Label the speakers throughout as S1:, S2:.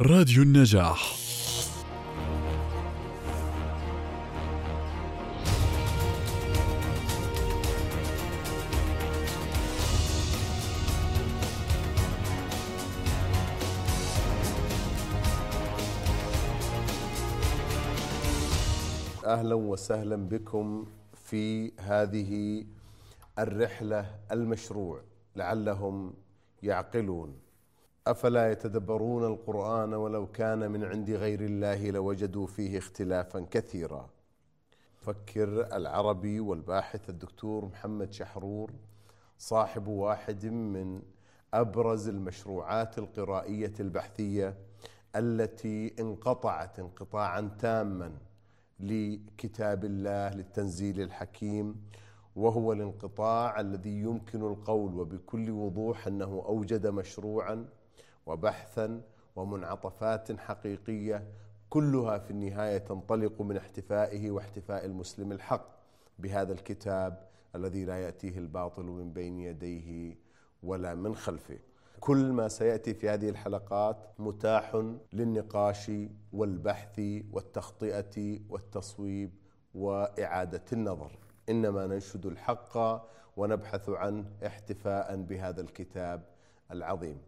S1: راديو النجاح
S2: اهلا وسهلا بكم في هذه الرحله المشروع لعلهم يعقلون افلا يتدبرون القران ولو كان من عند غير الله لوجدوا فيه اختلافا كثيرا فكر العربي والباحث الدكتور محمد شحرور صاحب واحد من ابرز المشروعات القرائيه البحثيه التي انقطعت انقطاعا تاما لكتاب الله للتنزيل الحكيم وهو الانقطاع الذي يمكن القول وبكل وضوح انه اوجد مشروعا وبحثا ومنعطفات حقيقيه كلها في النهايه تنطلق من احتفائه واحتفاء المسلم الحق بهذا الكتاب الذي لا ياتيه الباطل من بين يديه ولا من خلفه. كل ما سياتي في هذه الحلقات متاح للنقاش والبحث والتخطئه والتصويب واعاده النظر انما ننشد الحق ونبحث عنه احتفاء بهذا الكتاب العظيم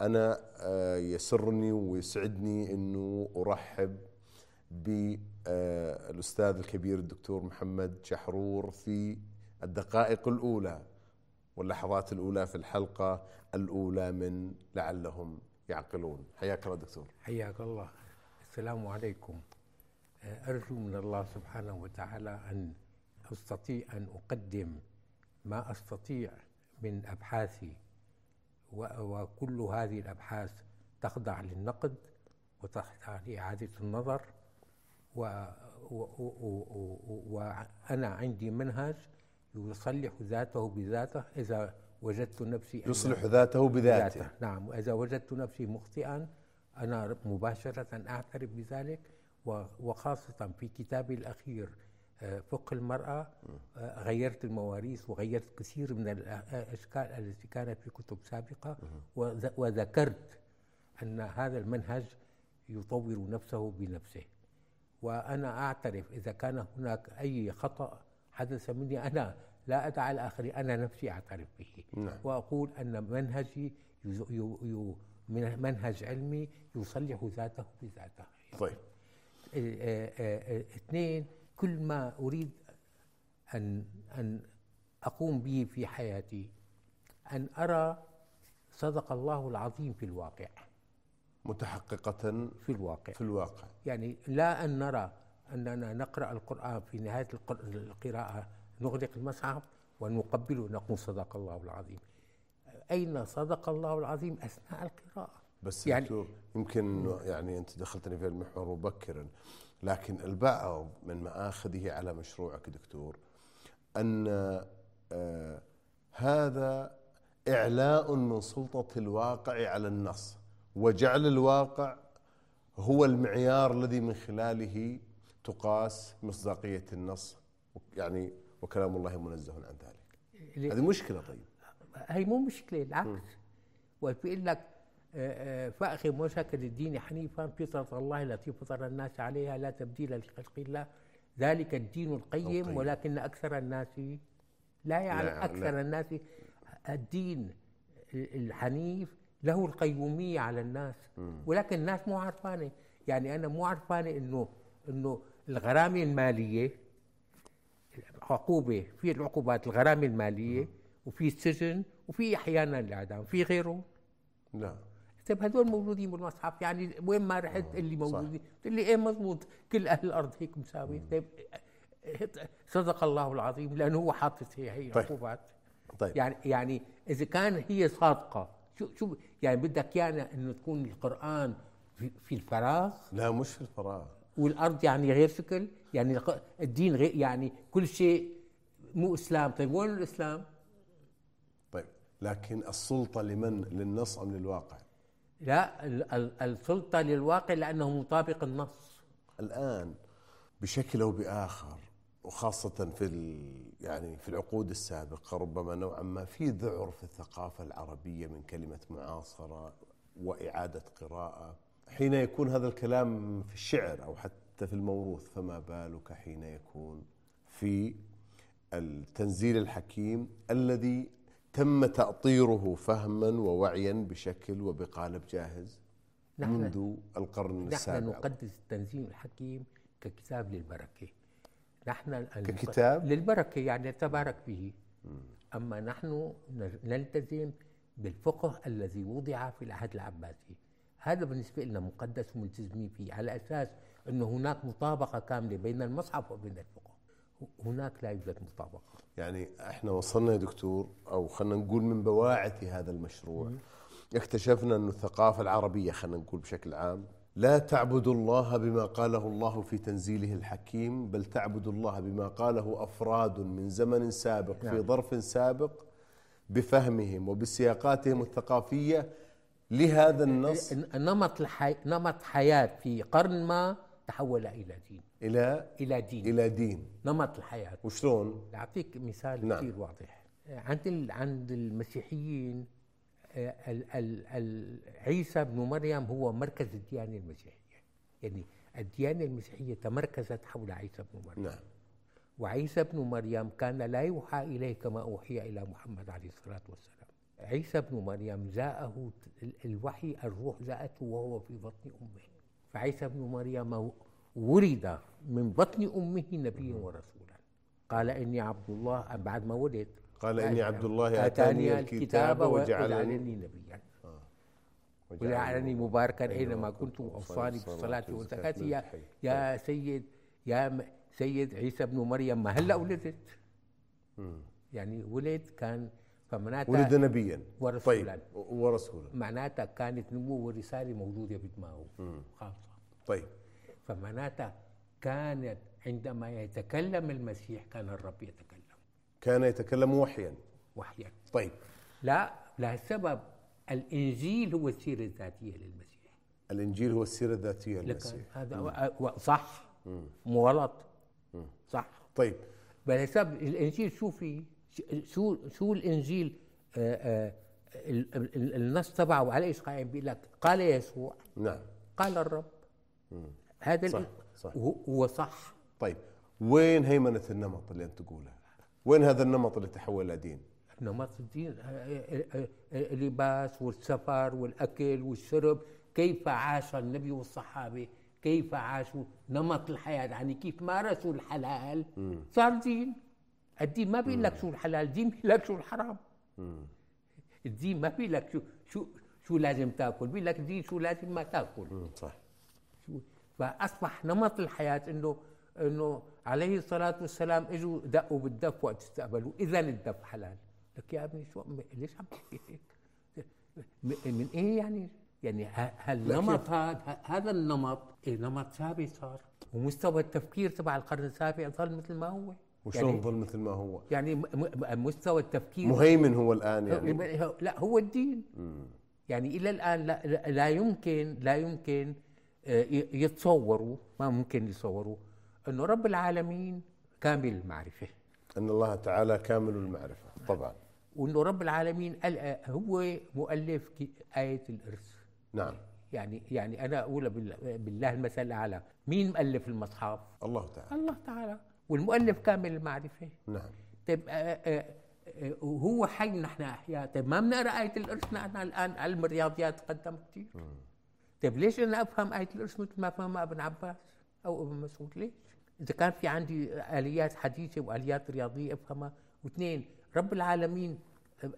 S2: انا آه، يسرني ويسعدني انه ارحب بالاستاذ آه، الكبير الدكتور محمد شحرور في الدقائق الاولى واللحظات الاولى في الحلقه الاولى من لعلهم يعقلون حياك الله دكتور
S3: حياك الله السلام عليكم ارجو من الله سبحانه وتعالى ان استطيع ان اقدم ما استطيع من ابحاثي وكل هذه الابحاث تخضع للنقد وتخضع لاعاده النظر وانا عندي منهج يصلح ذاته بذاته اذا وجدت نفسي
S2: يصلح ذاته بذاته, بذاته.
S3: نعم واذا وجدت نفسي مخطئا انا مباشره اعترف بذلك وخاصه في كتابي الاخير فقه المرأة آه، غيرت المواريث وغيرت كثير من الأشكال التي كانت في كتب سابقة وذكرت أن هذا المنهج يطور نفسه بنفسه وأنا أعترف إذا كان هناك أي خطأ حدث مني أنا لا أدع الآخرين أنا نفسي أعترف به نعم. وأقول أن منهجي يزو يو يو منهج علمي يصلح ذاته بذاته إيه،
S2: طيب
S3: اثنين كل ما اريد ان ان اقوم به في حياتي ان ارى صدق الله العظيم في الواقع
S2: متحققة
S3: في الواقع
S2: في الواقع
S3: يعني لا ان نرى اننا نقرا القران في نهايه القراءه نغلق المصحف ونقبله ونقول صدق الله العظيم اين صدق الله العظيم اثناء القراءه
S2: بس يعني يمكن يعني انت دخلتني في المحور مبكرا لكن البعض من مآخذه على مشروعك دكتور أن آه هذا إعلاء من سلطة الواقع على النص وجعل الواقع هو المعيار الذي من خلاله تقاس مصداقية النص يعني وكلام الله منزه عن ذلك هذه مشكلة طيب
S3: هي مو مشكلة العكس وبيقول لك فأخم وجهك للدين حنيفا فطرة الله التي فطر الناس عليها لا تبديل لخلق الله ذلك الدين القيم, القيم ولكن أكثر الناس لا يعلم يعني أكثر لا. الناس الدين الحنيف له القيومية على الناس م. ولكن الناس مو عرفانة يعني أنا مو عرفانة إنه إنه الغرامة المالية عقوبة في العقوبات الغرامة المالية م. وفي السجن وفي أحيانا الإعدام في غيره
S2: لا
S3: طيب هدول موجودين بالمصحف يعني وين ما رحت اللي موجودين قلت لي ايه مضبوط كل اهل الارض هيك مساوي طيب صدق الله العظيم لانه هو حاطط هي هي العقوبات طيب. طيب. يعني يعني اذا كان هي صادقه شو شو يعني بدك ايانا يعني انه تكون القران في, في الفراغ
S2: لا مش في الفراغ
S3: والارض يعني غير شكل يعني الدين غير يعني كل شيء مو اسلام طيب وين الاسلام
S2: طيب، لكن السلطة لمن للنص أم للواقع
S3: لا السلطة للواقع لأنه مطابق النص
S2: الآن بشكل أو بآخر وخاصة في يعني في العقود السابقة ربما نوعا ما في ذعر في الثقافة العربية من كلمة معاصرة وإعادة قراءة حين يكون هذا الكلام في الشعر او حتى في الموروث فما بالك حين يكون في التنزيل الحكيم الذي تم تأطيره فهما ووعيا بشكل وبقالب جاهز
S3: نحن
S2: منذ القرن
S3: نحن
S2: السابع
S3: نقدس التنزيل الحكيم ككتاب للبركه نحن المق-
S2: ككتاب؟
S3: للبركه يعني تبارك به اما نحن ن- نلتزم بالفقه الذي وضع في العهد العباسي هذا بالنسبه لنا مقدس وملتزمين فيه على اساس انه هناك مطابقه كامله بين المصحف وبين الفقه هناك لا يوجد مطابقه
S2: يعني احنا وصلنا يا دكتور او خلينا نقول من بواعث هذا المشروع اكتشفنا أن الثقافة العربية خلينا نقول بشكل عام لا تعبد الله بما قاله الله في تنزيله الحكيم بل تعبد الله بما قاله أفراد من زمن سابق في
S3: نعم.
S2: ظرف سابق بفهمهم وبسياقاتهم الثقافية لهذا النص
S3: إيه، نمط الحي... نمط حياه في قرن ما تحول الى دين
S2: إلى
S3: الى دين
S2: إلى دين
S3: نمط الحياه
S2: وشلون
S3: أعطيك مثال
S2: نعم.
S3: نعم. كثير واضح عند ال- عند المسيحيين آه، ال ال ال عيسى بن مريم هو مركز الديانة المسيحية يعني الديانة المسيحية تمركزت حول عيسى بن مريم
S2: نعم
S3: وعيسى بن مريم كان لا يوحى إليه كما أوحي إلى محمد عليه الصلاة والسلام عيسى بن مريم جاءه ت- ال- الوحي الروح جاءته وهو في بطن أمه فعيسى بن مريم ولد من بطن أمه نبيا ورسولا قال إني عبد الله بعد ما ولد
S2: قال إني عبد الله آتاني الكتاب وجعلني
S3: وجعلني نبيا وجعلني
S2: وجعلني-
S3: مباركا
S2: أينما
S3: اينما
S2: كنت
S3: كنت
S2: وأوصاني
S3: واوصاني
S2: بالصلاة
S3: بالصلاه
S2: والزكاة
S3: والزكاه يا
S2: للحي.
S3: يا سيد يا م- سيد عيسى بن مريم ما هلا ولدت يعني ولد كان
S2: ولد
S3: فمعناتها
S2: نبيا
S3: ورسولا.
S2: طيب و- ورسولا
S3: معناتها كانت نبوه ورساله موجوده بدماغه خالصه
S2: طيب
S3: فمعناتها كانت عندما يتكلم المسيح كان الرب يتكلم
S2: كان يتكلم وحيا
S3: وحيا
S2: طيب
S3: لا لهالسبب الانجيل هو السيره الذاتيه للمسيح
S2: الانجيل هو السيره الذاتيه
S3: لكن
S2: للمسيح
S3: هذا و- و- صح مو غلط صح
S2: طيب
S3: بالحساب الانجيل شو في شو شو الانجيل آه، آه، ال- ال- ال- النص تبعه على ايش قائم بيقول لك قال يسوع
S2: نعم
S3: قال الرب هذا
S2: صح،
S3: ال-
S2: صح.
S3: هو هو صح
S2: طيب وين هيمنه النمط اللي انت تقولها؟ وين هذا النمط اللي تحول الى دين؟
S3: نمط الدين آه، آه، آه، آه، اللباس والسفر والاكل والشرب كيف عاش النبي والصحابه كيف عاشوا نمط الحياه يعني كيف مارسوا الحلال صار دين الدين ما بيقول لك شو الحلال الدين بيقول لك شو الحرام الدين ما بيقول لك شو شو شو لازم تاكل بيقول لك الدين شو لازم ما تاكل
S2: امم صح
S3: شو- فاصبح نمط الحياه انه انه عليه الصلاه والسلام اجوا دقوا بالدف وقت استقبلوا اذا الدف حلال لك يا ابني شو م- ليش عم تحكي هيك؟ م- من ايه يعني؟ يعني ه- هالنمط هذا ه- هذا النمط إيه نمط ثابت صار ومستوى التفكير تبع القرن السابع ظل مثل ما هو
S2: وشلون
S3: يعني,
S2: ظل مثل ما هو؟
S3: يعني م- م- مستوى التفكير
S2: مهيمن هو الان يعني
S3: يعني لا هو الدين يعني الى الان لا, لا- لا يمكن لا يمكن آه، ي- يتصوروا ما ممكن يتصوروا انه رب العالمين كامل المعرفه
S2: ان الله تعالى كامل المعرفه طبعا
S3: وانه رب العالمين قال- آه، هو مؤلف كي- ايه الارث
S2: نعم
S3: يعني يعني انا اقول بال- بالله المثل الاعلى مين مؤلف المصحف؟
S2: الله تعالى
S3: الله تعالى والمؤلف كامل المعرفه
S2: نعم
S3: طيب آه، آه، آه، وهو حي نحن احياء طيب ما بنقرا ايه الارث نحن الان علم الرياضيات تقدم كثير طيب ليش انا افهم ايه الارث مثل ما فهمها ابن عباس او ابن مسعود ليش؟ اذا كان في عندي اليات حديثه واليات رياضيه افهمها واثنين رب العالمين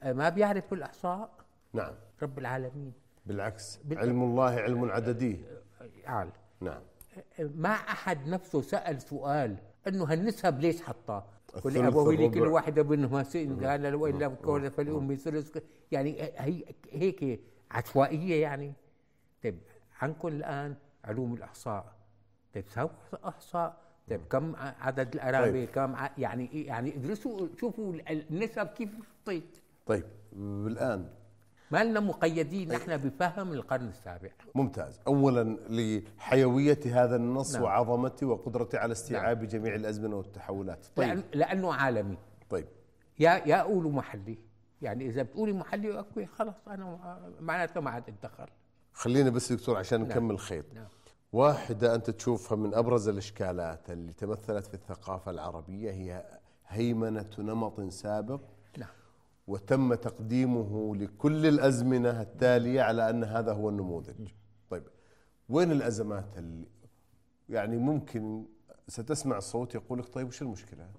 S3: آه، ما بيعرف بالاحصاء
S2: نعم
S3: رب العالمين
S2: بالعكس
S3: بال-
S2: علم الله علم عددي
S3: آه، اعلى
S2: نعم
S3: ما احد نفسه سال سؤال انه هالنسب ليش حطاه؟
S2: الثلث
S3: ولابويه
S2: الربع. نعم.
S3: لكل واحد منهما سئل قال له والا كون فلام ثلث يعني هي هيك عشوائيه يعني طيب عندكم الان علوم الاحصاء طيب سووا احصاء طيب كم عدد الارامل
S2: نعم. طيب.
S3: كم ع- يعني إيه؟ يعني ادرسوا شوفوا النسب كيف حطيت
S2: طيب الان
S3: ما لنا مقيدين
S2: طيب.
S3: نحن بفهم القرن السابع
S2: ممتاز اولا لحيويه هذا النص
S3: نعم.
S2: وعظمته وقدرته على استيعاب جميع الازمنه والتحولات طيب
S3: لأن لانه عالمي
S2: طيب
S3: يا يا قولوا محلي يعني اذا بتقولي محلي اوكي خلص انا معناته ما عاد اتدخل
S2: خلينا بس دكتور عشان
S3: نعم.
S2: نكمل خيط
S3: نعم
S2: واحدة أنت تشوفها من أبرز الإشكالات اللي تمثلت في الثقافة العربية هي هيمنة نمط سابق
S3: نعم
S2: وتم تقديمه لكل الأزمنة التالية على أن هذا هو النموذج طيب وين الأزمات اللي يعني ممكن ستسمع صوت يقول لك طيب وش المشكلة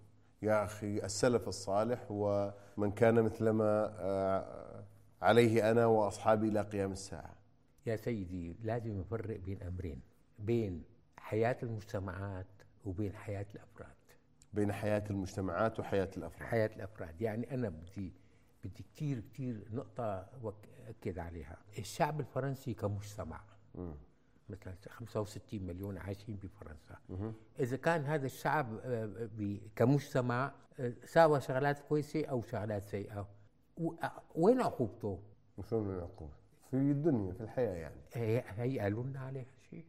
S2: يا أخي السلف الصالح هو من كان مثلما آه، عليه أنا وأصحابي إلى قيام الساعة
S3: يا سيدي لازم نفرق بين أمرين بين حياة المجتمعات وبين حياة الأفراد
S2: بين حياة المجتمعات وحياة الأفراد
S3: حياة الأفراد يعني أنا بدي بدي كتير كتير نقطة أكد عليها الشعب الفرنسي كمجتمع مثلا 65 مليون عايشين بفرنسا إذا كان هذا الشعب آه، ب- كمجتمع آه، ساوى شغلات كويسة أو شغلات سيئة و- آه، وين عقوبته؟
S2: شلون العقوبة؟ في الدنيا في الحياة يعني
S3: هي هي قالوا لنا عليها شيء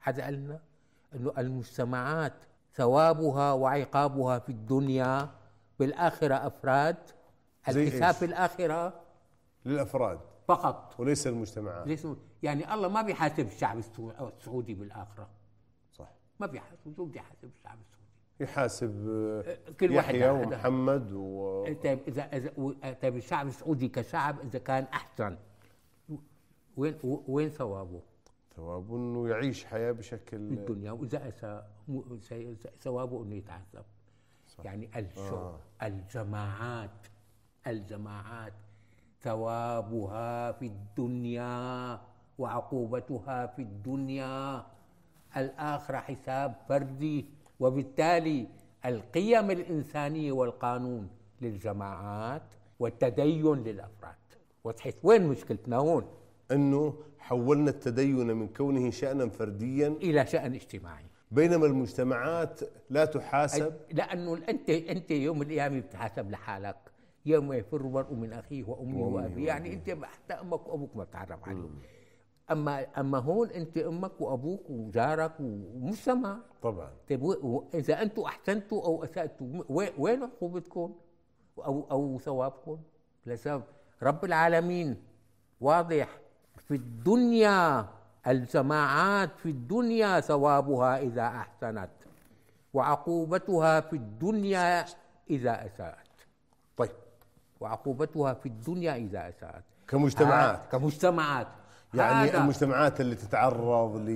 S3: حدا قال لنا انه المجتمعات ثوابها وعقابها في الدنيا بالآخرة أفراد
S2: زي
S3: الحساب
S2: إيش؟
S3: في الآخرة
S2: للأفراد
S3: فقط
S2: وليس المجتمعات
S3: ليش نقول؟ يعني الله ما بيحاسب الشعب السو- السعودي بالآخرة
S2: صح
S3: ما بيحاسب شو بده يحاسب الشعب السعودي
S2: يحاسب آه،
S3: كل واحد
S2: يحيى
S3: على حدا.
S2: ومحمد و
S3: طيب إذا إذا و- طيب الشعب السعودي كشعب إذا كان أحسن وين وين ثوابه؟
S2: ثواب انه يعيش حياه
S3: في
S2: بشكل
S3: الدنيا واذا اساء مو- سي- ثوابه انه يتعذب يعني الشو آه. الجماعات الجماعات ثوابها في الدنيا وعقوبتها في الدنيا الآخرة حساب فردي وبالتالي القيم الإنسانية والقانون للجماعات والتدين للأفراد وتحس وين مشكلتنا هون
S2: انه حولنا التدين من كونه شانا فرديا
S3: إلى شأن اجتماعي
S2: بينما المجتمعات لا تحاسب
S3: لانه انت انت يوم القيامه بتحاسب لحالك يوم يفر المرء من اخيه وامه
S2: وأمه
S3: وابيه يعني انت حتى امك وابوك ما بتعرف عليه اما اما هون انت امك وابوك وجارك ومجتمع
S2: طبعا
S3: طيب و- و- اذا انتم احسنتوا او اساتوا م- وي- وين عقوبتكم او او ثوابكم لسبب رب العالمين واضح في الدنيا الجماعات في الدنيا ثوابها اذا احسنت وعقوبتها في الدنيا اذا اساءت
S2: طيب
S3: وعقوبتها في الدنيا اذا اساءت
S2: كمجتمعات
S3: هذا- كمجتمعات
S2: يعني
S3: هذا-
S2: المجتمعات اللي تتعرض ل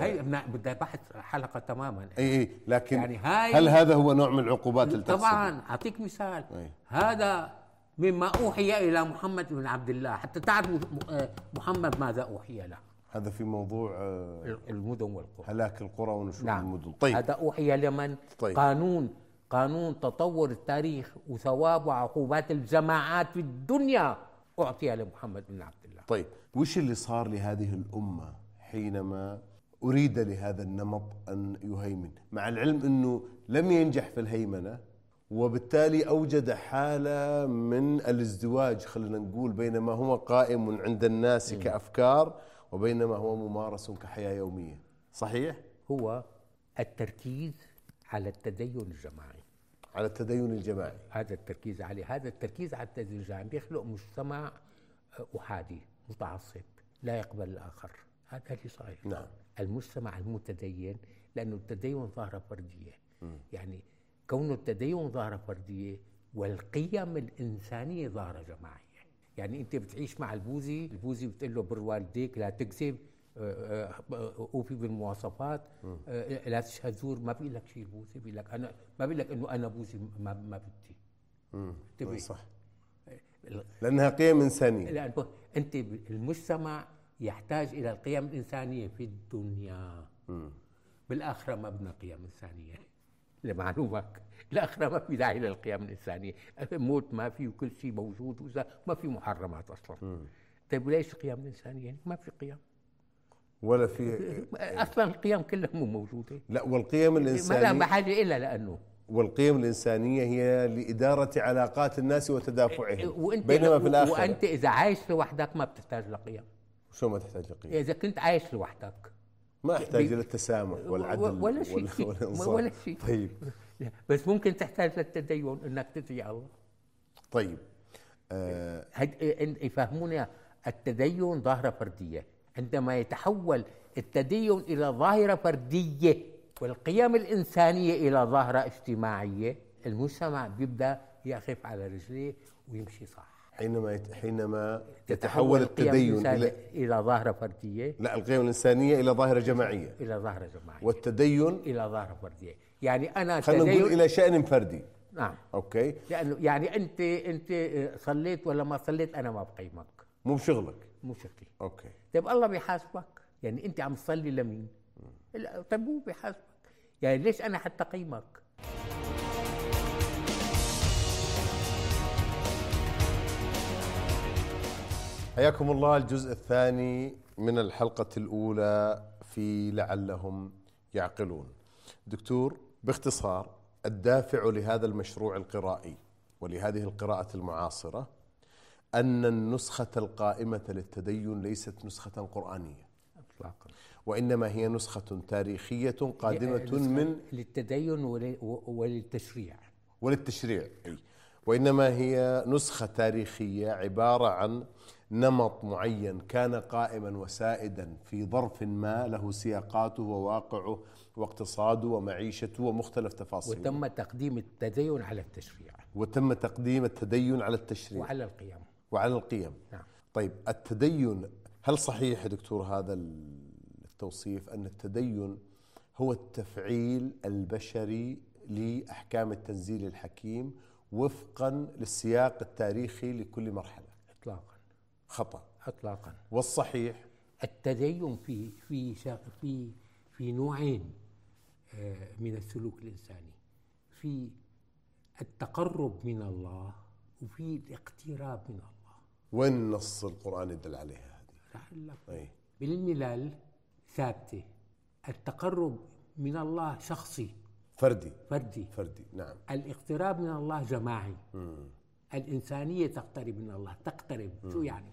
S3: هي بدنا- بدها بحث حلقه تماما
S2: اي اي لكن
S3: يعني
S2: يعني
S3: هاي-
S2: هل هذا هو نوع من العقوبات اللي تحصل؟
S3: طبعا اعطيك مثال
S2: أي.
S3: هذا مما اوحي الى محمد بن عبد الله حتى تعرفوا م- آه، محمد ماذا اوحي له
S2: هذا في موضوع آه،
S3: المدن والقرى
S2: هلاك القرى ونشوء المدن طيب
S3: نعم. هذا اوحي لمن
S2: طيب.
S3: قانون قانون تطور التاريخ وثواب وعقوبات الجماعات في الدنيا اعطي لمحمد بن عبد الله
S2: طيب وش اللي صار لهذه الأمة حينما أريد لهذا النمط أن يهيمن مع العلم أنه لم ينجح في الهيمنة وبالتالي أوجد حالة من الازدواج خلينا نقول بين ما هو قائم عند الناس كأفكار وبين ما هو ممارس كحياة يومية صحيح؟
S3: هو التركيز على التدين الجماعي
S2: على التدين الجماعي
S3: هذا التركيز عليه هذا التركيز على التدين الجماعي بيخلق مجتمع آه، احادي متعصب لا يقبل الاخر هذا اللي صاير
S2: نعم
S3: المجتمع المتدين لانه التدين ظاهره فرديه يعني كون التدين ظاهره فرديه والقيم الانسانيه ظاهره جماعيه يعني انت بتعيش مع البوذي البوذي بتقول له بر والديك لا تكذب آه، آه، آه، اوفي بالمواصفات آه، لا تشهد زور ما بيقول لك شيء البوذي بيقول لك انا ما بيقول لك انه انا بوذي ما ما بدي
S2: مم.
S3: تبي.
S2: صح
S3: ال-
S2: لأنها قيم إنسانية
S3: لأنه أنت ب- المجتمع يحتاج إلى القيم الإنسانية في الدنيا بالآخرة ما بدنا قيم إنسانية لمعلومك الآخرة ما في داعي للقيم الإنسانية موت ما في وكل شيء موجود وإذا ما في محرمات أصلا طيب ليش قيم إنسانية ما في قيم
S2: ولا في
S3: أصلا القيم كلها مو موجودة
S2: لا والقيم
S3: ما لها
S2: الإنسانية
S3: بحاجة إلا لأنه
S2: والقيم الإنسانية هي لإدارة علاقات الناس وتدافعهم
S3: إيه، وأنت
S2: إيه. بينما في الآخرة
S3: وأنت إذا عايش لوحدك ما بتحتاج لقيم
S2: شو ما تحتاج لقيم
S3: إذا كنت عايش لوحدك
S2: ما أحتاج
S3: إيه، بي-
S2: إلى التسامح والعدل
S3: ولا شيء.
S2: وال- والإنصاف
S3: ولا شيء.
S2: طيب
S3: لا، بس ممكن تحتاج للتدين انك تدعي الله
S2: طيب آه
S3: هد... إن- يفهمونا التدين ظاهره فرديه عندما يتحول التدين الى ظاهره فرديه والقيم الانسانيه الى ظاهره اجتماعيه المجتمع بيبدا يقف على رجليه ويمشي صح
S2: حينما يت... حينما يتحول التدين
S3: الى
S2: الى
S3: الى ظاهره فرديه
S2: لا القيم الانسانيه الى ظاهره جماعيه
S3: الى ظاهره جماعيه
S2: والتدين
S3: الى ظاهره فرديه يعني انا
S2: خلينا نقول
S3: تدين-
S2: الى شان فردي
S3: نعم
S2: اوكي
S3: لانه يعني انت انت صليت ولا ما صليت انا ما بقيمك
S2: مو بشغلك
S3: مو شكلي
S2: اوكي
S3: طيب الله بيحاسبك يعني انت عم تصلي لمين لا، طيب هو بيحاسبك يعني ليش انا حتى قيمك
S2: حياكم الله الجزء الثاني من الحلقة الأولى في لعلهم يعقلون. دكتور باختصار الدافع لهذا المشروع القرائي ولهذه القراءة المعاصرة أن النسخة القائمة للتدين ليست نسخة قرآنية
S3: اطلاقا
S2: وإنما هي نسخة تاريخية قادمة
S3: نسخة
S2: من
S3: للتدين ول- و- وللتشريع
S2: وللتشريع أي. وإنما هي نسخة تاريخية عبارة عن نمط معين كان قائما وسائدا في ظرف ما له سياقاته وواقعه واقتصاده ومعيشته ومختلف تفاصيله وتم,
S3: وتم تقديم التدين على التشريع
S2: وتم تقديم التدين على التشريع
S3: وعلى القيم
S2: وعلى القيم
S3: نعم
S2: طيب التدين هل صحيح يا دكتور هذا التوصيف أن التدين هو التفعيل البشري لأحكام التنزيل الحكيم وفقا للسياق التاريخي لكل مرحلة
S3: اطلاقا
S2: خطأ
S3: اطلاقا
S2: والصحيح
S3: التدين في في شا- في في نوعين آه، من السلوك الانساني في التقرب من الله وفي الاقتراب من الله
S2: وين نص القرآن يدل عليها هذه
S3: رح أقول لك
S2: أي
S3: بالملل ثابته التقرب من الله شخصي
S2: فردي
S3: فردي
S2: فردي نعم
S3: الاقتراب من الله جماعي الانسانيه تقترب من الله تقترب شو يعني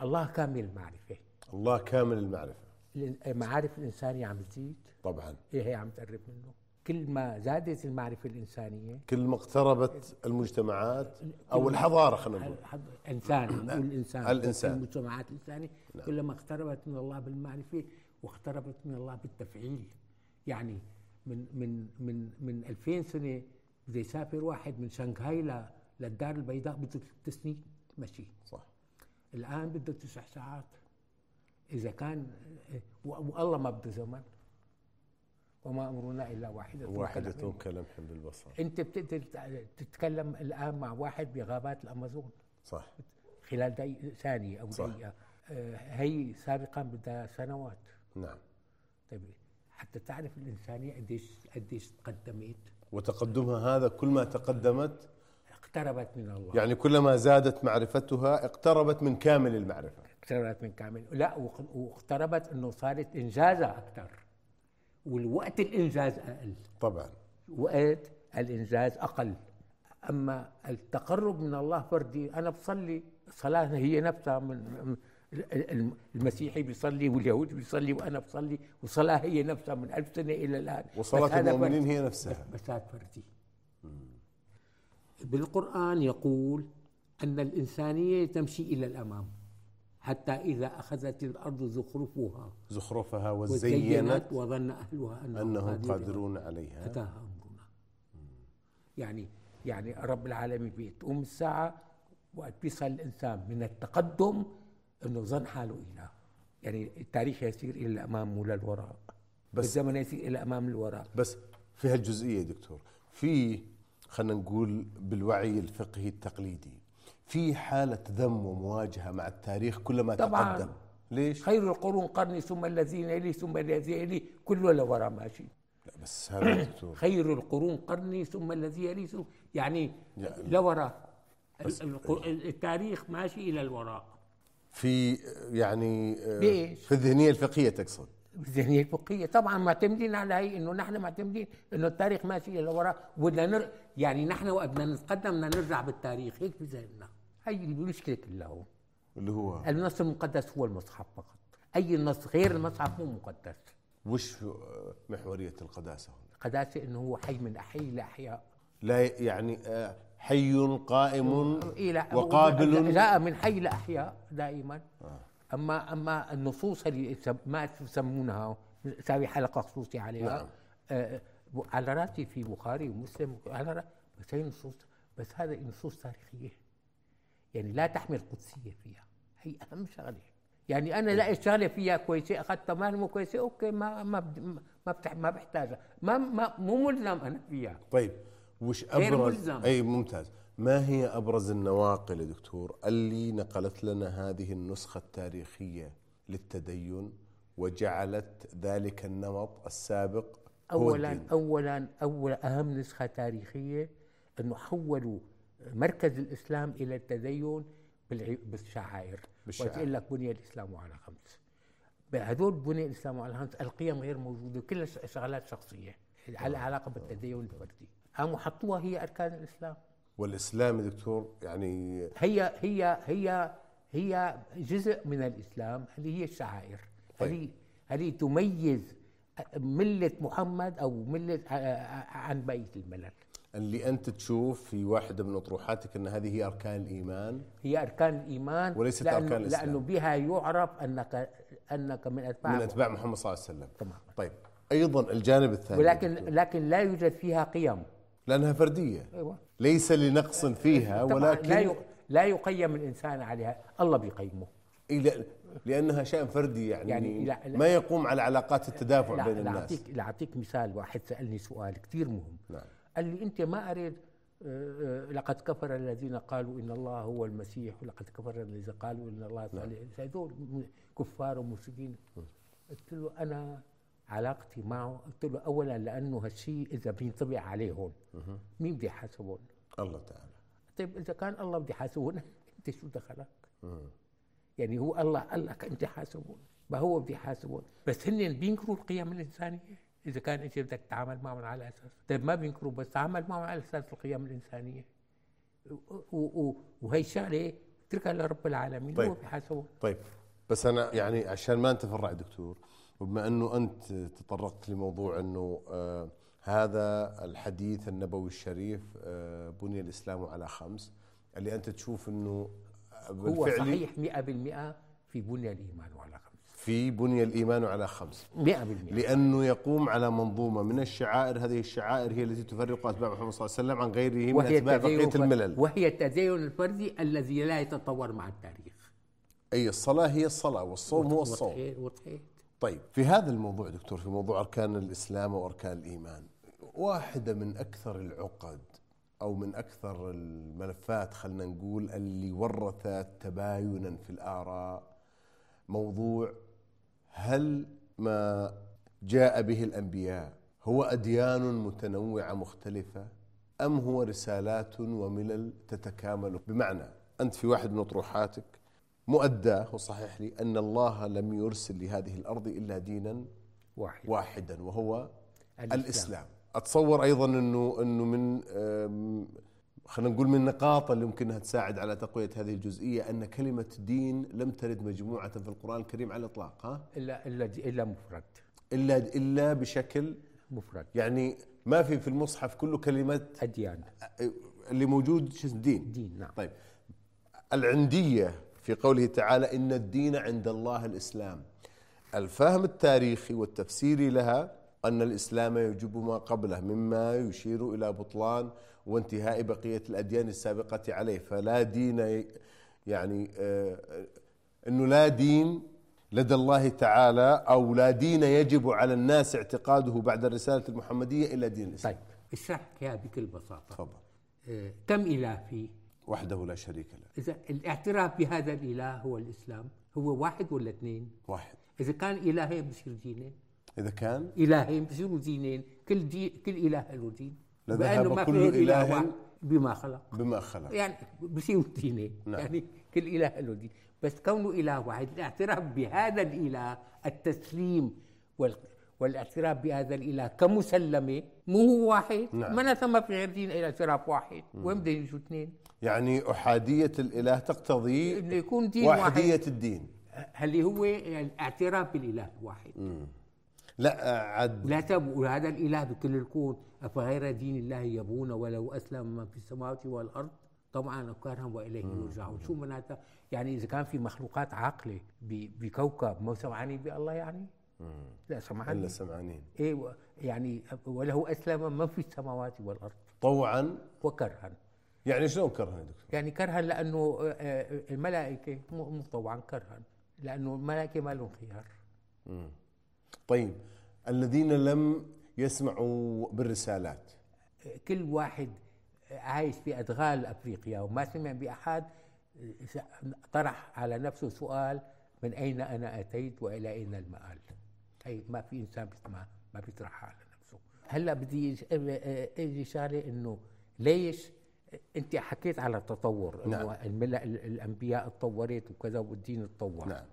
S3: الله كامل المعرفه
S2: الله كامل المعرفة
S3: المعارف الانسانيه عم تزيد
S2: طبعا
S3: ايه هي عم تقرب منه كل ما زادت المعرفة الإنسانية
S2: كل ما اقتربت المجتمعات أو الحضارة خلينا نقول
S3: الإنسان نقول الإنسان
S2: نعم. الإنسان. نعم.
S3: المجتمعات الإنسانية كل ما اقتربت من الله بالمعرفة واقتربت من الله بالتفعيل يعني من من من من 2000 سنة بده يسافر واحد من شنغهاي ل- للدار البيضاء بده ثلاث سنين مشي
S2: صح
S3: الآن بده تسع ساعات إذا كان و- والله ما بده زمن وما أمرنا إلا واحدة
S2: واحدة كلمح بالبصر
S3: انت بتقدر تتكلم الان مع واحد بغابات الامازون
S2: صح
S3: خلال دقيقة ثانية او
S2: صح.
S3: دقيقة آه، هي سابقا بدها سنوات
S2: نعم
S3: طيب حتى تعرف الانسانية قديش قديش تقدمت
S2: وتقدمها هذا كل ما تقدمت
S3: اقتربت من الله
S2: يعني كلما زادت معرفتها اقتربت من كامل المعرفة
S3: اقتربت من كامل لا وق- واقتربت انه صارت انجازها اكثر والوقت الانجاز اقل
S2: طبعا
S3: وقت الانجاز اقل اما التقرب من الله فردي انا بصلي صلاه هي نفسها من الم- المسيحي بيصلي واليهودي بيصلي وانا بصلي وصلاه هي نفسها من ألف سنه الى الان بس
S2: وصلاة
S3: هذا
S2: المؤمنين
S3: فردي.
S2: هي نفسها
S3: بس هذا فردي بالقران يقول ان الانسانيه تمشي الى الامام حتى اذا اخذت الارض زخرفها
S2: زخرفها
S3: وزينت
S2: وزينت
S3: وظن اهلها انهم,
S2: أنهم
S3: قادرون
S2: قادرون عليها
S3: أتاها أمرنا يعني يعني رب العالمين بتقوم الساعة وقت بيصل الإنسان من التقدم إنه ظن حاله إله يعني التاريخ يسير إلى الأمام ولا الوراء
S2: بس-
S3: بس الزمن يسير إلى الأمام الوراء
S2: بس في هالجزئية دكتور في خلينا نقول بالوعي الفقهي التقليدي في حالة ذم ومواجهة مع التاريخ كلما
S3: طبعاً.
S2: تقدم ليش؟
S3: خير القرون قرني ثم الذين يلي ثم الذين يلي كله لورا ماشي
S2: لا بس هذا يا دكتور
S3: خير القرون قرني ثم الذين يلي ثم يعني
S2: يعني-
S3: لورا القر- التاريخ ماشي إلى الوراء
S2: في يعني آه،
S3: ليش؟
S2: في الذهنية الفقهية تقصد
S3: الذهنية الفقهية طبعا معتمدين على هي انه نحن معتمدين انه التاريخ ماشي الى وراء وبدنا نر... يعني نحن وقت بدنا نتقدم بدنا نرجع بالتاريخ هيك بذهننا هي المشكلة كلها هون
S2: اللي هو
S3: النص المقدس هو المصحف فقط اي نص غير المصحف مو مقدس
S2: وش آه، محورية القداسة هنا؟
S3: قداسة انه هو حي من احي الاحياء
S2: لا ي- يعني آه، حي قائم
S3: إلى
S2: وقابل آه.
S3: لا من حي لاحياء دائما اما اما النصوص اللي تسم- ما تسمونها ساوي حلقه خصوصيه عليها
S2: نعم.
S3: آه، على راسي في بخاري ومسلم على رأ- بس هي نصوص بس هذه نصوص تاريخيه يعني لا تحمل قدسيه فيها هي اهم شغله يعني انا لا شغله فيها كويسه اخذتها ما مو كويسه اوكي ما ما بد- ما بتح- ما بحتاجها ما ما مو ملزم انا فيها
S2: طيب وش
S3: غير
S2: ابرز
S3: ملزم.
S2: اي ممتاز ما هي ابرز النواقل يا دكتور اللي نقلت لنا هذه النسخه التاريخيه للتدين وجعلت ذلك النمط السابق هو
S3: اولا
S2: الدين؟
S3: اولا اول اهم نسخه تاريخيه انه حولوا مركز الاسلام الى التدين بالع- بالشعائر
S2: بالشعائر.
S3: وتقول لك بني الاسلام على خمس هذول بني الاسلام على خمس القيم غير موجوده كلها ش- شغلات شخصيه على
S2: آه.
S3: علاقه بالتدين الفردي قاموا حطوها هي اركان الاسلام
S2: والاسلام يا دكتور يعني
S3: هي هي هي هي جزء من الاسلام اللي هي الشعائر
S2: طيب.
S3: اللي اللي تميز مله محمد او مله آه، آه، عن بقيه الملل
S2: اللي انت تشوف في واحده من اطروحاتك ان هذه هي اركان الايمان
S3: هي اركان الايمان
S2: وليست
S3: لأنه-
S2: أركان الإسلام.
S3: لانه بها يعرف انك انك من اتباع
S2: من اتباع محمد صلى الله عليه وسلم
S3: تمام.
S2: طيب ايضا الجانب الثاني يا
S3: ولكن
S2: دكتور،
S3: لكن لا يوجد فيها قيم
S2: لانها فرديه
S3: ايوه
S2: ليس لنقص فيها
S3: طبعاً
S2: ولكن
S3: لا يق- لا يقيم الانسان عليها الله بيقيمه
S2: إلى لانها شان فردي يعني,
S3: يعني لا- لا-
S2: ما يقوم على علاقات التدافع
S3: لا-
S2: بين
S3: لا
S2: الناس
S3: أعطيك- لا أعطيك مثال واحد سالني سؤال كثير مهم
S2: نعم
S3: قال لي انت ما اريد آه، آه، لقد كفر الذين قالوا ان الله هو المسيح ولقد كفر الذين قالوا ان الله
S2: نعم.
S3: صالح هذول م- كفار ومشركين قلت له انا علاقتي معه قلت له اولا لانه هالشيء اذا بينطبع عليه هون مين بده يحاسبهم؟
S2: الله تعالى
S3: طيب اذا كان الله بده يحاسبهم انت شو دخلك؟ يعني هو الله قال لك انت حاسبون ما هو بده يحاسبون بس هن بينكروا القيم الانسانيه اذا كان انت بدك تتعامل معهم على اساس طيب ما بينكروا بس تعامل معهم على اساس القيم الانسانيه و- و- وهي شغله اتركها لرب العالمين
S2: طيب.
S3: هو بيحاسبهم
S2: طيب بس انا يعني عشان ما نتفرع دكتور وبما انه انت تطرقت لموضوع انه آه هذا الحديث النبوي الشريف آه بني الاسلام على خمس اللي انت تشوف انه
S3: هو
S2: بالفعل
S3: صحيح 100% في بني الايمان على خمس
S2: في بني الايمان على خمس
S3: 100%
S2: لانه يقوم على منظومه من الشعائر هذه الشعائر هي التي تفرق اتباع محمد صلى الله عليه وسلم عن غيره من اتباع بقيه
S3: الفر-
S2: الملل
S3: وهي التدين الفردي الذي لا يتطور مع التاريخ
S2: اي الصلاة هي الصلاة والصوم هو الصوم
S3: وضحيت- وضحيت
S2: طيب في هذا الموضوع دكتور في موضوع أركان الإسلام وأركان الإيمان واحدة من أكثر العقد أو من أكثر الملفات خلنا نقول اللي ورثت تباينا في الآراء موضوع هل ما جاء به الأنبياء هو أديان متنوعة مختلفة أم هو رسالات وملل تتكامل بمعنى أنت في واحد من أطروحاتك مؤداه وصحيح لي ان الله لم يرسل لهذه الارض الا دينا
S3: واحد
S2: واحدا وهو
S3: الإسلام.
S2: الاسلام, الإسلام. اتصور ايضا انه انه من آم، خلينا نقول من النقاط اللي ممكن انها تساعد على تقويه هذه الجزئيه ان كلمه دين لم ترد مجموعه في القران الكريم على الاطلاق ها
S3: الا الا الا مفرد
S2: الا الا بشكل
S3: مفرد
S2: يعني ما في في المصحف كله كلمه
S3: اديان
S2: اللي موجود شو اسمه دين
S3: دين، نعم.
S2: طيب العنديه في قوله تعالى ان الدين عند الله الاسلام الفهم التاريخي والتفسيري لها ان الاسلام يجب ما قبله مما يشير الى بطلان وانتهاء بقيه الاديان السابقه عليه فلا دين ي- يعني آه، آه، انه لا دين لدى الله تعالى او لا دين يجب على الناس اعتقاده بعد الرساله المحمديه الا دين الاسلام
S3: طيب اشرح لك اياها بكل بساطه
S2: تفضل
S3: آه، كم اله في
S2: وحده لا شريك له
S3: اذا الاعتراف بهذا الاله هو الاسلام هو واحد ولا اثنين
S2: واحد
S3: اذا كان الهين بصير دينين
S2: اذا كان
S3: الهين بصيروا دينين كل دي كل اله له دين
S2: لذهب
S3: بأنه
S2: كل
S3: في
S2: إله
S3: واحد بما خلق
S2: بما خلق
S3: يعني بصيروا دينين
S2: نعم.
S3: يعني كل اله له دين بس كونه اله واحد الاعتراف بهذا الاله التسليم وال والاعتراف بهذا الاله كمسلمه مو هو واحد
S2: نعم.
S3: معناتها ما في غير دين الا اعتراف واحد وين بدهم يجوا اثنين
S2: يعني احاديه الاله تقتضي
S3: انه يكون دين
S2: وحديه
S3: واحد
S2: الدين
S3: هل هو الاعتراف بالاله الواحد
S2: لا عد
S3: لا تب هذا الاله بكل الكون افغير دين الله يبون ولو اسلم من في السماوات والارض طمعا أفكارهم وإليه يرجعون شو معناتها يعني إذا كان في مخلوقات عاقلة ب- بكوكب ما سمعانين بالله يعني لا سمعانين
S2: الا سمعانين
S3: إيه و- يعني وله أسلم من في السماوات والأرض
S2: طوعا
S3: وكرها
S2: يعني شلون كرهني دكتور؟
S3: يعني كرها لأنه آه، آه، الملائكة مو مو طوعا كرها لأنه الملائكة ما لهم خيار
S2: طيب الذين لم يسمعوا بالرسالات
S3: كل واحد عايش في أدغال أفريقيا وما سمع بأحد طرح على نفسه سؤال من أين أنا أتيت وإلى أين المآل أي ما في إنسان بيسمع ما بيطرحها على نفسه هلأ بدي يج- أجي شغلة إنه ليش أنت حكيت على التطور
S2: نعم.
S3: إنه المل- الأنبياء تطورت وكذا والدين تطور
S2: نعم.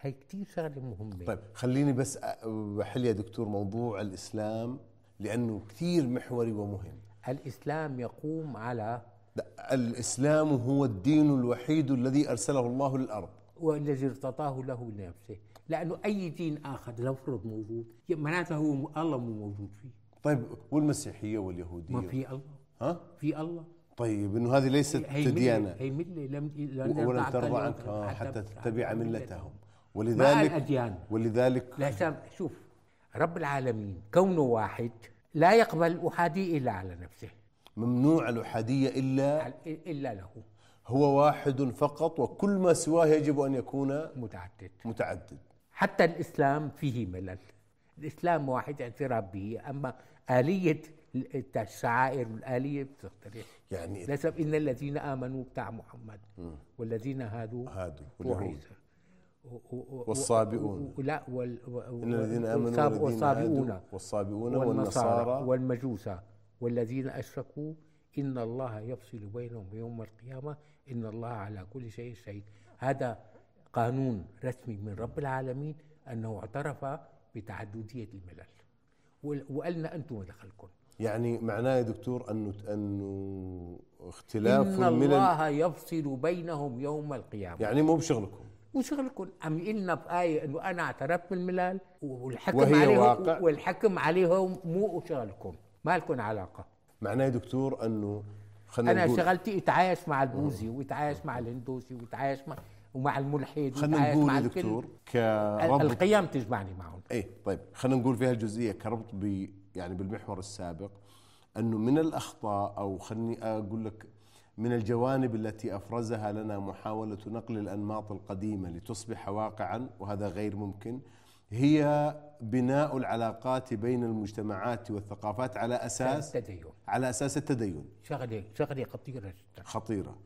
S3: هي كتير شغلة مهمة
S2: طيب خليني بس أ- بحل يا دكتور موضوع الاسلام لانه كثير محوري ومهم
S3: الإسلام يقوم على
S2: لا، الاسلام هو الدين الوحيد الذي ارسله الله للارض
S3: والذي ارتضاه له لنفسه لأنه أي دين آخر لو فرض موجود معناته هو م- الله مو موجود فيه
S2: طيب والمسيحيه واليهوديه
S3: ما في الله
S2: ها
S3: في الله
S2: طيب انه هذه ليست
S3: هي ملة
S2: ديانه
S3: هي ملة لم لن
S2: ولن
S3: يرضى
S2: ترضى
S3: عنك
S2: عنك
S3: اليهود
S2: آه، حتى تتبع
S3: تتبع
S2: ملتهم
S3: مع
S2: ولذلك
S3: الأديان
S2: ولذلك
S3: لا سام- شوف رب العالمين كونه واحد لا يقبل الأحادية إلا على نفسه
S2: ممنوع الأحادية إلا
S3: على- إلا له
S2: هو واحد فقط وكل ما سواه يجب أن يكون
S3: متعدد
S2: متعدد
S3: حتى الإسلام فيه ملل الإسلام واحد اعتراف به أما آلية الشعائر والآلية بتختلف
S2: يعني
S3: لسبب إن الذين آمنوا بتاع محمد والذين هادوا
S2: هادوا واليهود.
S3: وعيسى و- و-
S2: والصابئون.
S3: و- لا وال و-
S2: إن الذين آمنوا
S3: والصاب-
S2: والذين هادوا والصابئون والنصارى
S3: والمجوس والذين أشركوا إن الله يفصل بينهم يوم القيامة إن الله على كل شيء شهيد هذا قانون رسمي من رب العالمين أنه اعترف بتعددية الملل وال- وقالنا أنتم دخلكم
S2: يعني معناه يا دكتور أنه أنه اختلاف
S3: إن
S2: الملل
S3: الله يفصل بينهم يوم القيامة
S2: يعني مو بشغلكم
S3: وشغلكم عم يقلنا بآية إنه أنا اعترفت بالملل والحكم
S2: وهي
S3: عليهم
S2: واقع.
S3: والحكم عليهم مو شغلكم ما لكم علاقة
S2: معناه يا دكتور أنه خلينا
S3: أنا
S2: نقول آه.
S3: شغلتي اتعايش مع البوذي واتعايش مع الهندوسي واتعايش مع ومع الملحد
S2: خلينا
S3: واتعايش
S2: نقول
S3: مع
S2: يا
S3: الكل.
S2: دكتور
S3: ال-
S2: كربط
S3: القيم تجمعني معهم
S2: ايه طيب خلينا نقول في هالجزئيه كربط ب يعني بالمحور السابق انه من الاخطاء او خلني اقول لك من الجوانب التي افرزها لنا محاوله نقل الانماط القديمه لتصبح واقعا وهذا غير ممكن هي بناء العلاقات بين المجتمعات والثقافات على اساس
S3: التدين
S2: على اساس التدين
S3: شغلة شغلة خطيرة جدا
S2: خطيره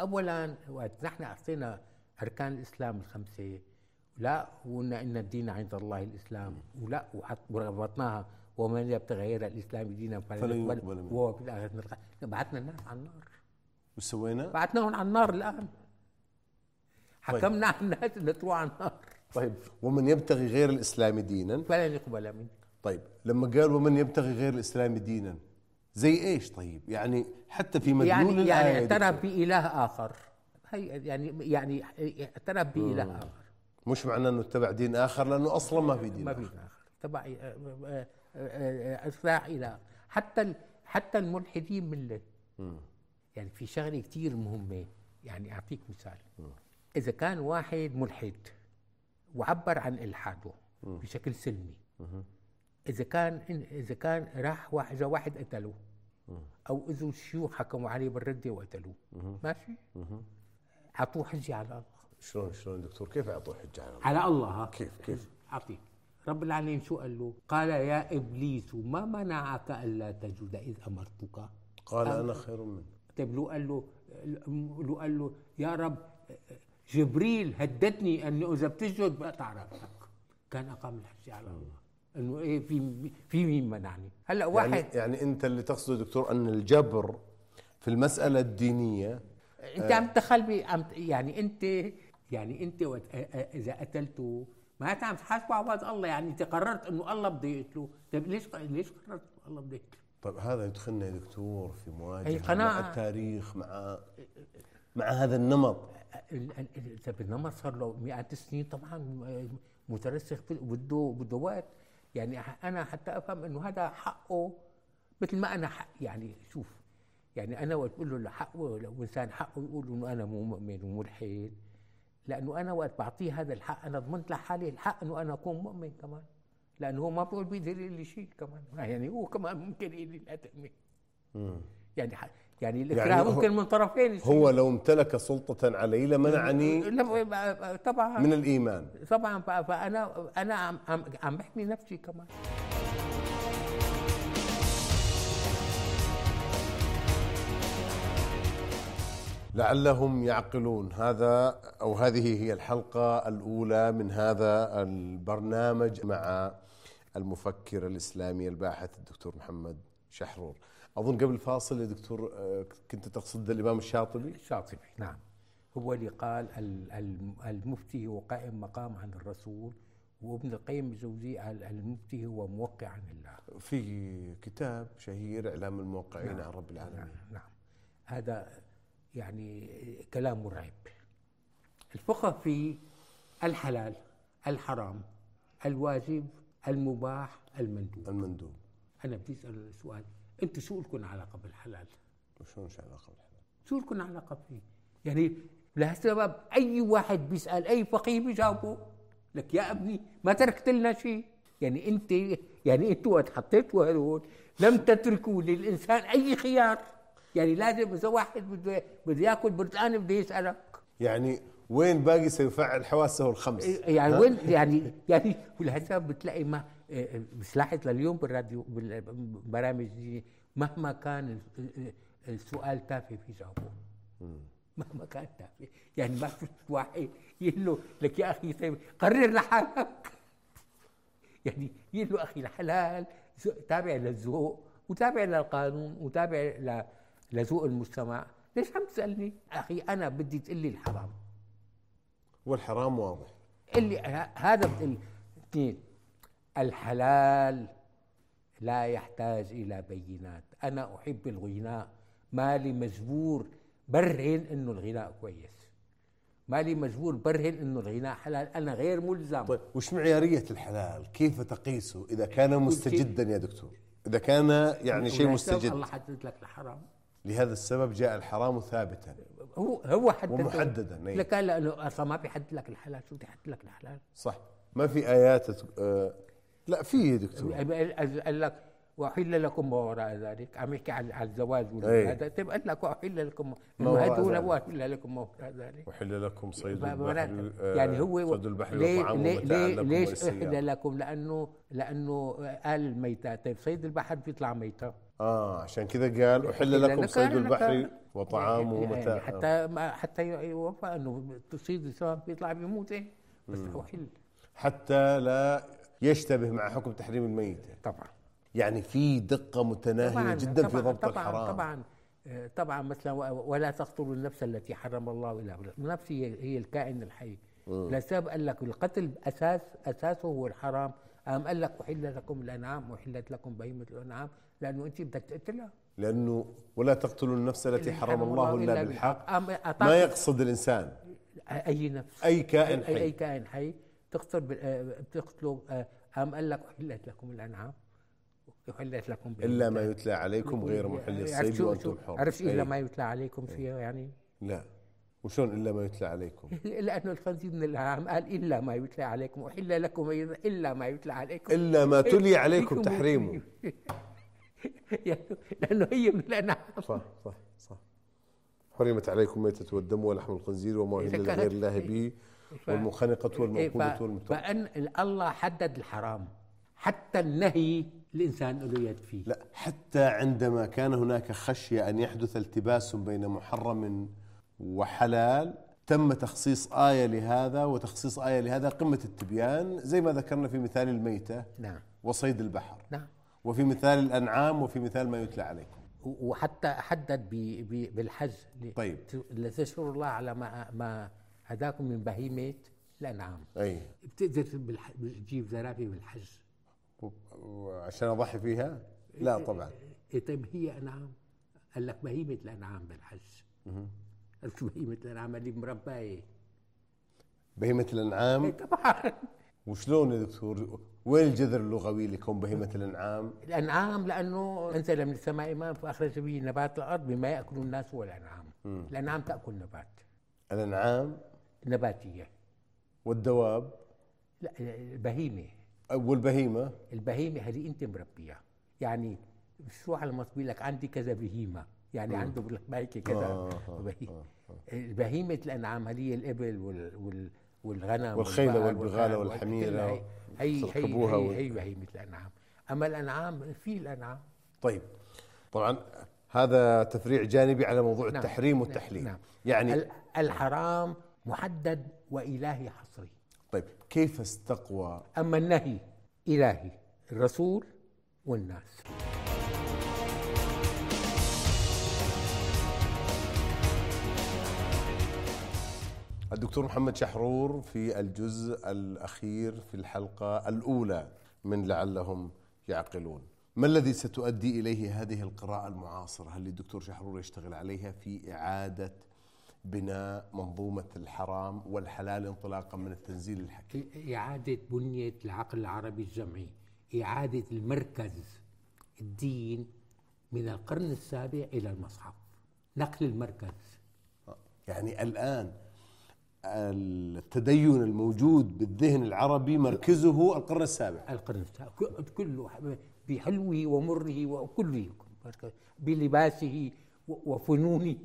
S3: اولا وقت نحن اعطينا اركان الاسلام الخمسه لا وقلنا ان الدين عند الله الاسلام ولا وحط- وربطناها ومن يبتغي غير الاسلام دينا
S2: فلن
S3: فلن
S2: يقبل
S3: يقبل
S2: منه.
S3: وهو في الاخره من الخ- بعتنا الناس على النار
S2: وش سوينا؟
S3: بعتناهم على النار
S2: طيب.
S3: الان حكمنا على الناس اللي طلعوا على النار
S2: طيب ومن يبتغي غير الاسلام دينا
S3: فلن يقبل منه
S2: طيب لما قال ومن يبتغي غير الاسلام دينا زي ايش طيب يعني حتى في مدلول
S3: يعني يعني
S2: الآية
S3: اعترف باله اخر هي يعني يعني اعترف
S2: آه.
S3: باله اخر
S2: دكتور، مش معناه انه اتبع دين اخر لانه اصلا ما في دين
S3: ما
S2: آخر.
S3: في اخر تبع آه، اصلاح الى آه، حتى ال- حتى الملحدين مله يعني في شغله كثير مهمه يعني اعطيك مثال اذا كان واحد ملحد وعبر عن الحاده بشكل سلمي اذا كان إن- اذا كان راح واحد جا واحد قتله او اذوا الشيوخ حكموا عليه بالرده وقتلوه ماشي اعطوه حجه على الله
S2: شلون شلون دكتور كيف اعطوه حجه على الله؟
S3: على الله ها؟
S2: كيف- كيف؟
S3: اعطيك رب العالمين شو قال له؟ قال يا ابليس ما منعك الا تجد اذ امرتك؟
S2: قال انا خير منه
S3: طيب لو قال له لو قال له يا رب جبريل هددني انه اذا بتسجد بقطع راسك كان اقام الحجه على الله انه ايه في في مين منعني؟ هلا واحد
S2: يعني, يعني انت اللي تقصده دكتور ان الجبر في المساله الدينيه
S3: انت عم تدخل بي عم ت- يعني انت يعني انت وت... أ- أ- اذا قتلته ما انت عم تحاسبه على وضع الله يعني انت قررت انه الله بده يقتله طيب ليش ليش قررت إنه الله بده يقتله
S2: طيب هذا يدخلنا يا دكتور في
S3: هي
S2: مواجهه
S3: قناعة.
S2: مع التاريخ مع مع هذا النمط
S3: ال- ال- ال- طيب النمط صار له 100 سنين طبعا م- آه، مترسخ في- بده بده وقت يعني ح- انا حتى افهم انه هذا حقه مثل ما انا حق يعني شوف يعني انا وقت بقول له حقه لو انسان حقه يقول انه انا مو مؤمن وملحد لانه انا وقت بعطيه هذا الحق انا ضمنت لحالي الحق انه انا اكون مؤمن كمان لانه هو ما بيقول بيقدر يقول لي شيء كمان يعني هو كمان ممكن يقول لي لا تؤمن
S2: مم.
S3: يعني ح- يعني الاكراه
S2: يعني
S3: يعني
S2: هو-
S3: ممكن من طرفين يصير.
S2: هو لو امتلك سلطة علي لمنعني
S3: لا، طبعا
S2: يعني من الإيمان
S3: طبعا ف- فانا انا عم عم عم بحمي نفسي كمان
S2: لعلهم يعقلون هذا او هذه هي الحلقه الاولى من هذا البرنامج مع المفكر الاسلامي الباحث الدكتور محمد شحرور اظن قبل الفاصل يا دكتور آه، كنت تقصد الامام الشاطبي
S3: الشاطبي نعم هو اللي قال ال- ال- المفتي هو قائم مقام عن الرسول وابن القيم الجوزي قال المفتي هو موقع عن الله
S2: في كتاب شهير اعلام الموقعين عن رب العالمين
S3: نعم, نعم. هذا يعني كلام مرعب الفقه في الحلال الحرام الواجب المباح المندوب
S2: المندوب
S3: انا بدي اسال سؤال انتم شو لكم علاقه بالحلال؟
S2: وشلون شو علاقه بالحلال؟
S3: شو لكم علاقه فيه؟ يعني لهالسبب اي واحد بيسال اي فقيه بيجاوبه لك يا ابني ما تركت لنا شيء يعني انت يعني انتوا وقت حطيتوا هذول لم تتركوا للانسان اي خيار يعني لازم اذا واحد بده بده ياكل برتقان بده يسالك
S2: يعني وين باقي سيفعل حواسه الخمس؟
S3: يعني وين يعني يعني ولهالسبب بتلاقي ما إيه، بصلاحت لليوم بالراديو بالبرامج دي مهما كان ال- ال- السؤال تافه في جوابه مهما كان تافه يعني ما في واحد يقول له لك يا اخي طيب قرر لحالك يعني يقول له اخي الحلال ذو- تابع للذوق وتابع للقانون وتابع ل- لذوق المجتمع ليش عم تسالني اخي انا بدي تقول لي الحرام
S2: والحرام واضح
S3: اللي ه- هذا ال- اثنين الحلال لا يحتاج الى بينات انا احب الغناء مالي مجبور برهن انه الغناء كويس مالي مجبور برهن انه الغناء حلال انا غير ملزم
S2: طيب وش معيارية الحلال؟ كيف تقيسه إذا كان مستجدا يا دكتور؟ إذا كان يعني شيء
S3: ولهالسبب
S2: مستجد
S3: الله حدد لك الحرام
S2: لهذا السبب جاء الحرام ثابتا
S3: هو هو حدد
S2: ومحدداً، إيه.
S3: لك لانه اصلا ما بيحدد لك الحلال شو بده يحدد لك الحلال
S2: صح ما في آيات تت- آه لا في يا دكتور
S3: قال قال لك واحل لكم ما وراء ذلك عم يحكي عن عن الزواج
S2: إيه.
S3: والولاده طيب قال لك واحل لكم
S2: ما وراء
S3: هدول
S2: ذلك.
S3: واحل لكم ما وراء ذلك
S2: وحل لكم صيد
S3: معناتها
S2: البحر آه،
S3: يعني هو
S2: صيد البحر
S3: ليه
S2: وطعامه
S3: ليه
S2: متاعا
S3: ليه
S2: لكم
S3: ليش احدى
S2: وللسيارة
S3: لكم لانه لانه قال الميتة طيب صيد البحر بيطلع ميتة
S2: اه عشان كذا قال أحل
S3: إلا
S2: لكم
S3: لك-
S2: صيد
S3: لك-
S2: البحر
S3: يعني-
S2: وطعامه
S3: يعني
S2: متاعا
S3: حتى ما حتى يوفى انه تصيد الانسان بيطلع بيموت إيه. بس احل
S2: حتى لا يشتبه مع حكم تحريم الميتة
S3: طبعا
S2: يعني في دقة متناهية جدا في ضبط
S3: طبعا
S2: الحرام
S3: طبعا آه، طبعا مثلا و- ولا تقتلوا النفس التي حرم الله الا بالحق، النفس هي هي الكائن الحي لسبب قال لك القتل اساس اساسه هو الحرام قام قال لك احل لكم الانعام واحلت لكم بهيمه الانعام لانه انت بدك تقتلها
S2: لانه ولا تقتلوا النفس التي حرم الله الا بالحق
S3: قام
S2: ما
S3: أعطاك
S2: يقصد الانسان
S3: اي نفس
S2: اي كائن
S3: أي- اي
S2: حي
S3: كائن حي تقتل بال- آه، بتقتله آه، قام قال لك احلت لكم الانعام احلت لكم بهيمة
S2: الا ما يتلى عليكم غير
S3: يعني
S2: محل
S3: عرفت
S2: الصيد إيه.
S3: شو-
S2: وانتم
S3: شو-
S2: حر
S3: عرفت الا
S2: أي.
S3: ما يتلى عليكم
S2: إيه.
S3: فيها يعني
S2: لا وشلون الا ما يتلى عليكم
S3: لانه الخنزير من العام قال الا ما يتلى عليكم احل لكم أيضاً الا ما يتلى عليكم
S2: الا ما تلي عليكم تحريمه
S3: يعني لانه هي من الانعام
S2: صح صح صح حرمت عليكم ميتة والدم ولحم الخنزير وما
S3: إذا
S2: أهل
S3: كانت- إيه.
S2: لغير الله به
S3: ف-
S2: والمنخنقة والموقودة
S3: إيه، ف-
S2: والمتوقعة
S3: فان الله حدد الحرام حتى النهي الانسان له يد فيه
S2: لا حتى عندما كان هناك خشية أن يحدث التباس بين محرم وحلال تم تخصيص آية لهذا وتخصيص آية لهذا قمة التبيان زي ما ذكرنا في مثال الميتة
S3: نعم
S2: وصيد البحر
S3: نعم
S2: وفي مثال الأنعام وفي مثال ما يتلى عليكم
S3: و- وحتى حدد ب- ب- بالحج ل-
S2: طيب.
S3: لتشكر الله على ما ما هداكم من بهيمه الانعام
S2: أي
S3: بتقدر بالح- تجيب زرافه بالحج
S2: و- وعشان أضحي فيها لا طبعا
S3: إيه طيب هي انعام قال لك بهيمه الانعام بالحج عرفت بهيمه الانعام اللي مربايه
S2: بهيمة
S3: إيه
S2: الأنعام
S3: طبعا
S2: وشلون يا دكتور وين الجذر اللغوي لكون بهيمه الانعام؟
S3: الانعام لانه انزل من السماء ماء فاخرج به نبات الارض مما ياكل الناس والانعام الانعام تاكل نبات
S2: الانعام
S3: نباتيه
S2: والدواب
S3: لا البهيمه
S2: والبهيمه
S3: البهيمه هذه انت مربيها يعني شو على ما تقول لك عندي كذا بهيمه يعني عنده بقول لك بايكه كذا
S2: آه، آه،
S3: بهي- البهيمه الانعام هذه الابل وال وال والغنم
S2: والخيلة
S3: والبقر
S2: والبغالة
S3: والغنم
S2: والحميرة
S3: كلها هي- هي
S2: تركبوها
S3: هي
S2: وال-
S3: هي, هي بهيمه الانعام اما الانعام في الانعام
S2: طيب طبعا هذا تفريع جانبي على موضوع
S3: نعم،
S2: التحريم
S3: نعم،
S2: والتحليل
S3: نعم.
S2: يعني
S3: ال- الحرام محدد والهي حصري
S2: طيب كيف استقوى
S3: اما النهي الهي الرسول والناس
S2: الدكتور محمد شحرور في الجزء الأخير في الحلقة الأولى من لعلهم يعقلون ما الذي ستؤدي إليه هذه القراءة المعاصرة هل الدكتور شحرور يشتغل عليها في إعادة بناء منظومة الحرام والحلال انطلاقا من التنزيل الحكيم
S3: إعادة بنية العقل العربي الجمعي إعادة المركز الدين من القرن السابع إلى المصحف نقل المركز
S2: يعني الآن التدين الموجود بالذهن العربي مركزه القرن السابع
S3: القرن السابع ك- كله بحلوه ومره وكله مركز. بلباسه و- وفنونه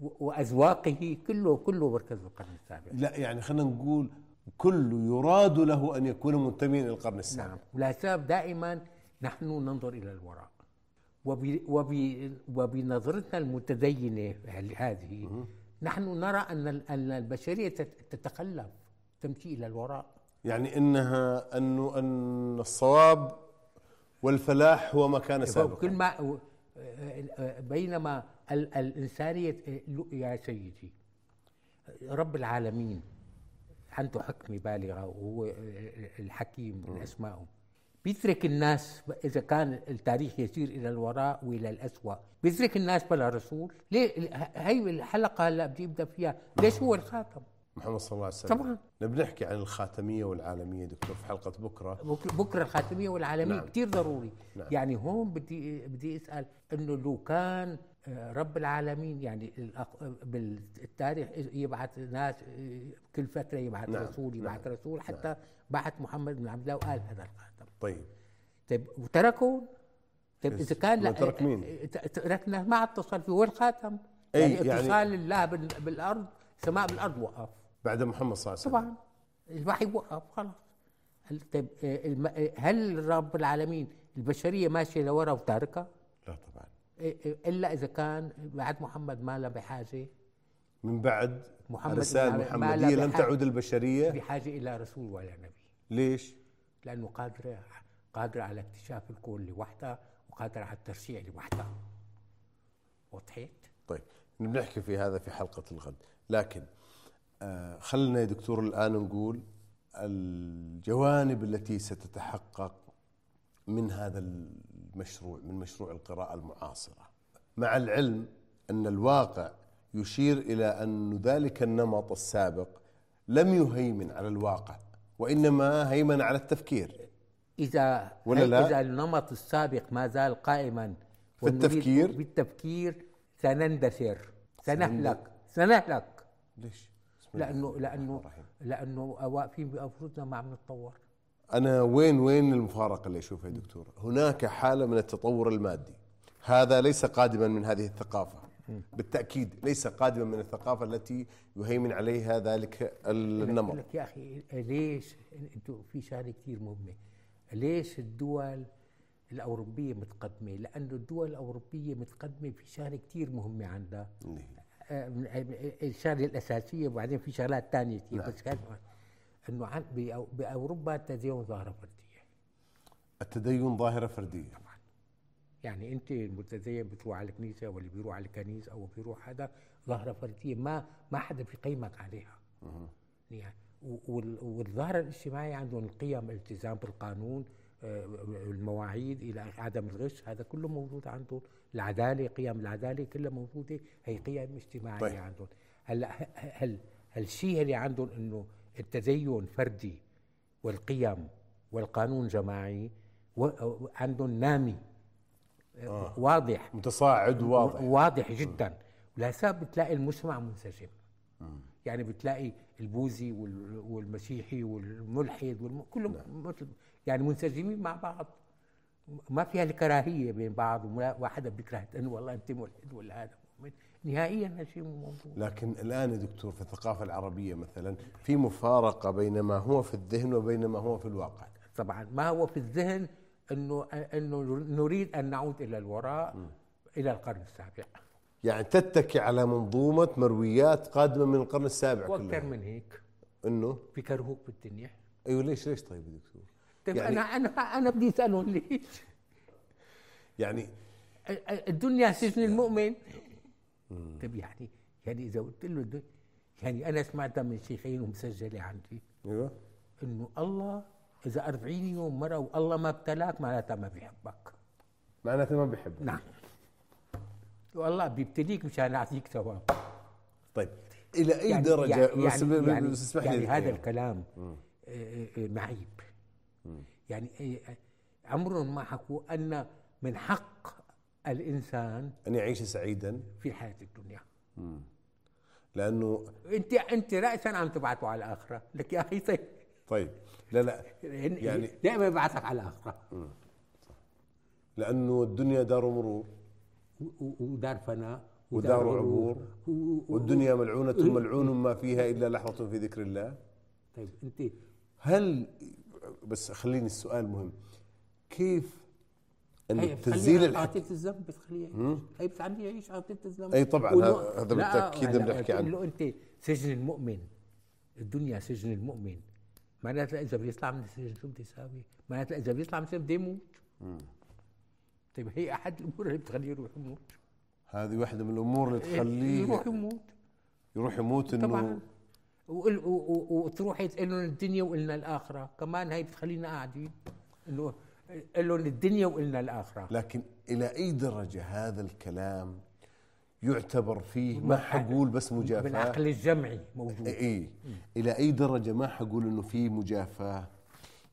S3: و- وأذواقه كله كله مركز القرن السابع
S2: لا يعني خلينا نقول كل يراد له أن يكون منتميا إلى القرن السابع
S3: نعم والأسباب دائما نحن ننظر إلى الوراء وب... وب... وبنظرتنا المتدينة هل- هذه نحن نرى أن ال- أن البشرية تت- تتقلب تمشي إلى الوراء
S2: يعني انها انه ان الصواب والفلاح هو ما كان سابقا
S3: كل ما و- آه، آه، بينما ال... الإنسانية آه، لو- يا سيدي رب العالمين عنده حكمة بالغة وهو آه، الحكيم من أسمائه بيترك الناس إذا كان التاريخ يسير إلى الوراء وإلى الأسوأ بيترك الناس بلا رسول ليه هي الحلقة هلا بدي أبدأ فيها ليش هو الخاتم
S2: محمد صلى الله عليه وسلم
S3: طبعاً.
S2: نبي نحكي عن الخاتميه والعالميه دكتور في حلقه بكره
S3: بك- بكره الخاتميه والعالميه
S2: نعم.
S3: نعم. كتير ضروري
S2: نعم.
S3: نعم. يعني هون بدي بدي اسال انه لو كان آه، رب العالمين يعني الأق- بالتاريخ يبعث ناس آه، كل فتره يبعث
S2: نعم،
S3: نعم. رسول يبعث نعم. رسول حتى نعم. بعث محمد بن عبد الله وقال هذا الخاتم
S2: طيب
S3: طيب وتركه طيب
S2: بس
S3: اذا كان
S2: ما ترك مين؟
S3: آه، ت- تركنا ما عاد اتصل فيه وين الخاتم؟
S2: أي،
S3: يعني
S2: يعني-
S3: اتصال الله بال- بالارض سماء بالارض وقف
S2: بعد محمد صلى الله عليه وسلم
S3: طبعا الوحي وقف خلاص هل- طيب آه، الم- آه، هل رب العالمين البشريه ماشيه لورا وتاركه؟
S2: لا طبعا
S3: آه، آه، الا اذا كان بعد محمد ما لها بحاجه
S2: من بعد
S3: محمد
S2: الرسائل
S3: ما- ما
S2: المحمديه
S3: لا
S2: لم
S3: بحاجة-
S2: تعد البشريه
S3: بحاجه الى رسول ولا نبي
S2: ليش؟
S3: لانه قادره قادره على اكتشاف الكون لوحدها وقادره على الترشيع لوحدها وضحت؟
S2: طيب بنحكي في هذا في حلقة الغد لكن آه، خلنا يا دكتور الآن نقول الجوانب التي ستتحقق من هذا المشروع من مشروع القراءة المعاصرة مع العلم أن الواقع يشير إلى أن ذلك النمط السابق لم يهيمن على الواقع وإنما هيمن على التفكير
S3: إذا
S2: ولا
S3: هي-
S2: لا؟
S3: إذا النمط السابق ما زال قائما
S2: في
S3: والمريد
S2: التفكير؟
S3: بالتفكير سنندثر سنهلك سنهلك
S2: ليش؟ بسم الله
S3: لأنه
S2: الرحمن
S3: لأنه
S2: الرحيم.
S3: لأنه واقفين بأنفسنا ما عم نتطور
S2: أنا وين وين المفارقة اللي أشوفها يا دكتور؟ هناك حالة من التطور المادي هذا ليس قادما من هذه الثقافة بالتأكيد ليس قادما من الثقافة التي يهيمن عليها ذلك
S3: بقول
S2: النمط
S3: لك يا أخي ليش أنتوا في شغلة كثير مهمة ليش الدول الأوروبية متقدمة لأنه الدول الأوروبية متقدمة في شغلة كثير مهمة عندها الشغله الاساسيه وبعدين في شغلات ثانيه كثير
S2: نعم.
S3: بس كان- انه عن- بأو- باوروبا التدين ظاهره فرديه
S2: التدين ظاهرة فردية
S3: يعني انت المتدين بتروح على الكنيسه واللي بيروح على الكنيسه او بيروح هذا ظاهره فرديه ما ما حدا بيقيمك عليها يعني و- وال- والظاهره الاجتماعيه عندهم القيم الالتزام بالقانون آه، المواعيد الى عدم الغش هذا كله موجود عندهم العداله قيم العداله كلها موجوده هي قيم اجتماعيه
S2: طيب.
S3: طيب. عندهم هلا ه- هل هل الشيء اللي عندهم انه التدين فردي والقيم والقانون جماعي و- عندهم نامي آه. واضح
S2: متصاعد واضح
S3: واضح جدا ولهسبب بتلاقي المجتمع منسجم يعني بتلاقي البوذي وال- والمسيحي والملحد والم... كلهم
S2: نعم.
S3: مثل يعني منسجمين مع بعض ما فيها الكراهيه بين بعض ولا واحد بيكره انه والله انت ملحد ولا هذا مؤمن نهائيا هالشيء مو موجود
S2: لكن الان يا دكتور في الثقافه العربيه مثلا في مفارقه بين ما هو في الذهن وبين ما هو في الواقع
S3: طبعا ما هو في الذهن انه انه نريد ان نعود الى الوراء الى القرن السابع
S2: يعني تتكي على منظومه مرويات قادمه من القرن السابع
S3: واكثر
S2: كلها
S3: من هيك
S2: انه
S3: بكرهوك بالدنيا
S2: ايوه ليش ليش طيب يا دكتور؟
S3: طيب
S2: يعني-
S3: انا انا انا بدي اسالهم ليش؟
S2: يعني
S3: الدنيا سجن المؤمن طيب يعني يعني اذا قلت له الدنيا يعني انا سمعتها من شيخين ومسجله عندي
S2: ايوه
S3: أيوة. انه الله اذا 40 يوم مره والله ما ابتلاك معناتها ما بيحبك
S2: معناته ما بيحب
S3: نعم والله بيبتليك مشان يعطيك ثواب
S2: طيب الى اي
S3: يعني-
S2: درجه
S3: يعني
S2: بس-
S3: يعني, يعني,
S2: بس اسمح لي
S3: يعني
S2: دكتور.
S3: هذا الكلام آه، آه، معيب يعني آه، آه، عمرهم ما حكوا ان من حق الانسان
S2: ان يعيش سعيدا
S3: في الحياه الدنيا
S2: لانه
S3: انت انت راسا عم تبعته على الاخره لك يا اخي طيب
S2: طيب لا لا يعني-
S3: يعني دائما ببعثك على الاخره
S2: لانه الدنيا دار مرور
S3: و- و- ودار فناء
S2: ودار عبور
S3: و- و- و-
S2: والدنيا ملعونه
S3: أه.
S2: ملعون ما فيها الا لحظه في ذكر الله
S3: طيب انت
S2: هل بس خليني السؤال مهم كيف
S3: هي
S2: انك تزيل
S3: تزيل
S2: الحكي
S3: قاتلة الذنب بتخليه يعيش هي بتخليه يعيش قاتلة الذنب
S2: أي طبعاً،
S3: ولو-
S2: هذا- هذا
S3: لا،
S2: بالتأكيد
S3: هلا
S2: بنحكي عنه.
S3: بتقول له انت سجن المؤمن الدنيا سجن المؤمن معناتها اذا بيطلع من السجن شو بده يساوي؟ معناتها اذا بيطلع من السجن بده يموت طيب هي احد الامور اللي بتخليه يروح يموت
S2: هذه واحده من الامور اللي تخليه
S3: إيه، يروح يموت
S2: يروح يموت
S3: طبعا
S2: انه
S3: وقل- و- و- و- وتروحي تقول لهم الدنيا وقلنا الاخره كمان هي بتخلينا قاعدين انه قل لهم الدنيا وقلنا الاخره
S2: لكن الى اي درجه هذا الكلام يعتبر فيه ما حقول بس إيه. مجافاه
S3: بالعقل الجمعي موجود
S2: اي الى اي درجه ما حقول انه في مجافاه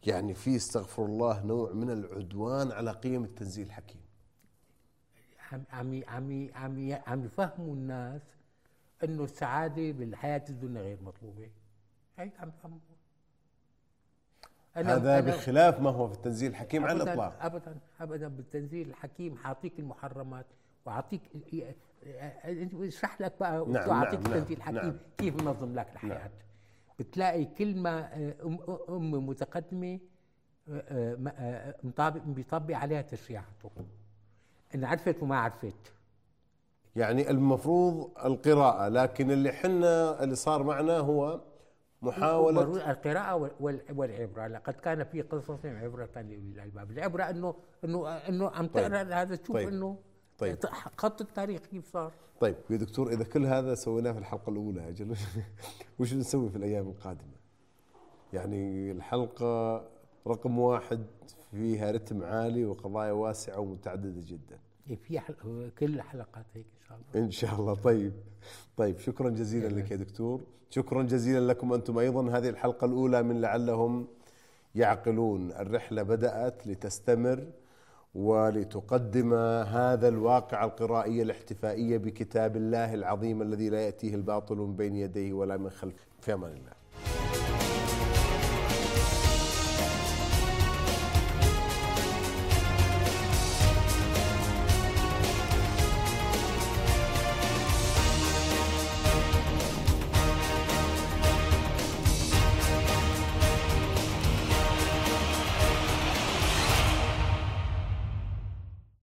S2: يعني في استغفر الله نوع من العدوان على قيم التنزيل الحكيم
S3: عم عم عم عم عم يفهموا الناس انه السعاده بالحياه الدنيا غير مطلوبه هيك عم يفهموا
S2: هذا بخلاف ما هو في التنزيل الحكيم على
S3: أبداً-
S2: الاطلاق
S3: ابدا ابدا بالتنزيل الحكيم حاعطيك المحرمات وعطيك اشرح لك بقى
S2: نعم،
S3: وقت أعطيك
S2: نعم، نعم،
S3: التنزيل الحكيم
S2: نعم.
S3: كيف منظم لك الحياه بتلاقي كلمه آه، أم- ام متقدمه آه، آه، ما- آه، مطابق بيطبق عليها تشريعاته ان عرفت وما عرفت
S2: يعني المفروض القراءه لكن اللي حنا اللي صار معنا هو محاوله
S3: ومروي- القراءة وال- وال- والعبرة، لقد كان في قصص عبرة لأولي الألباب، العبرة إنه إنه إنه عم
S2: طيب.
S3: تقرأ هذا تشوف
S2: طيب.
S3: إنه
S2: طيب.
S3: خط التاريخ كيف صار
S2: طيب يا دكتور اذا كل هذا سويناه في الحلقه الاولى اجل وش نسوي في الايام القادمه؟ يعني الحلقه رقم واحد فيها رتم عالي وقضايا واسعه ومتعدده جدا.
S3: إيه، في حل... كل الحلقات هيك إن شاء الله
S2: ان شاء الله طيب طيب شكرا جزيلا لك يا دكتور شكرا جزيلا لكم انتم ايضا هذه الحلقه الاولى من لعلهم يعقلون الرحله بدات لتستمر ولتقدم هذا الواقع القرائي الاحتفائي بكتاب الله العظيم الذي لا ياتيه الباطل من بين يديه ولا من خلفه في امان الله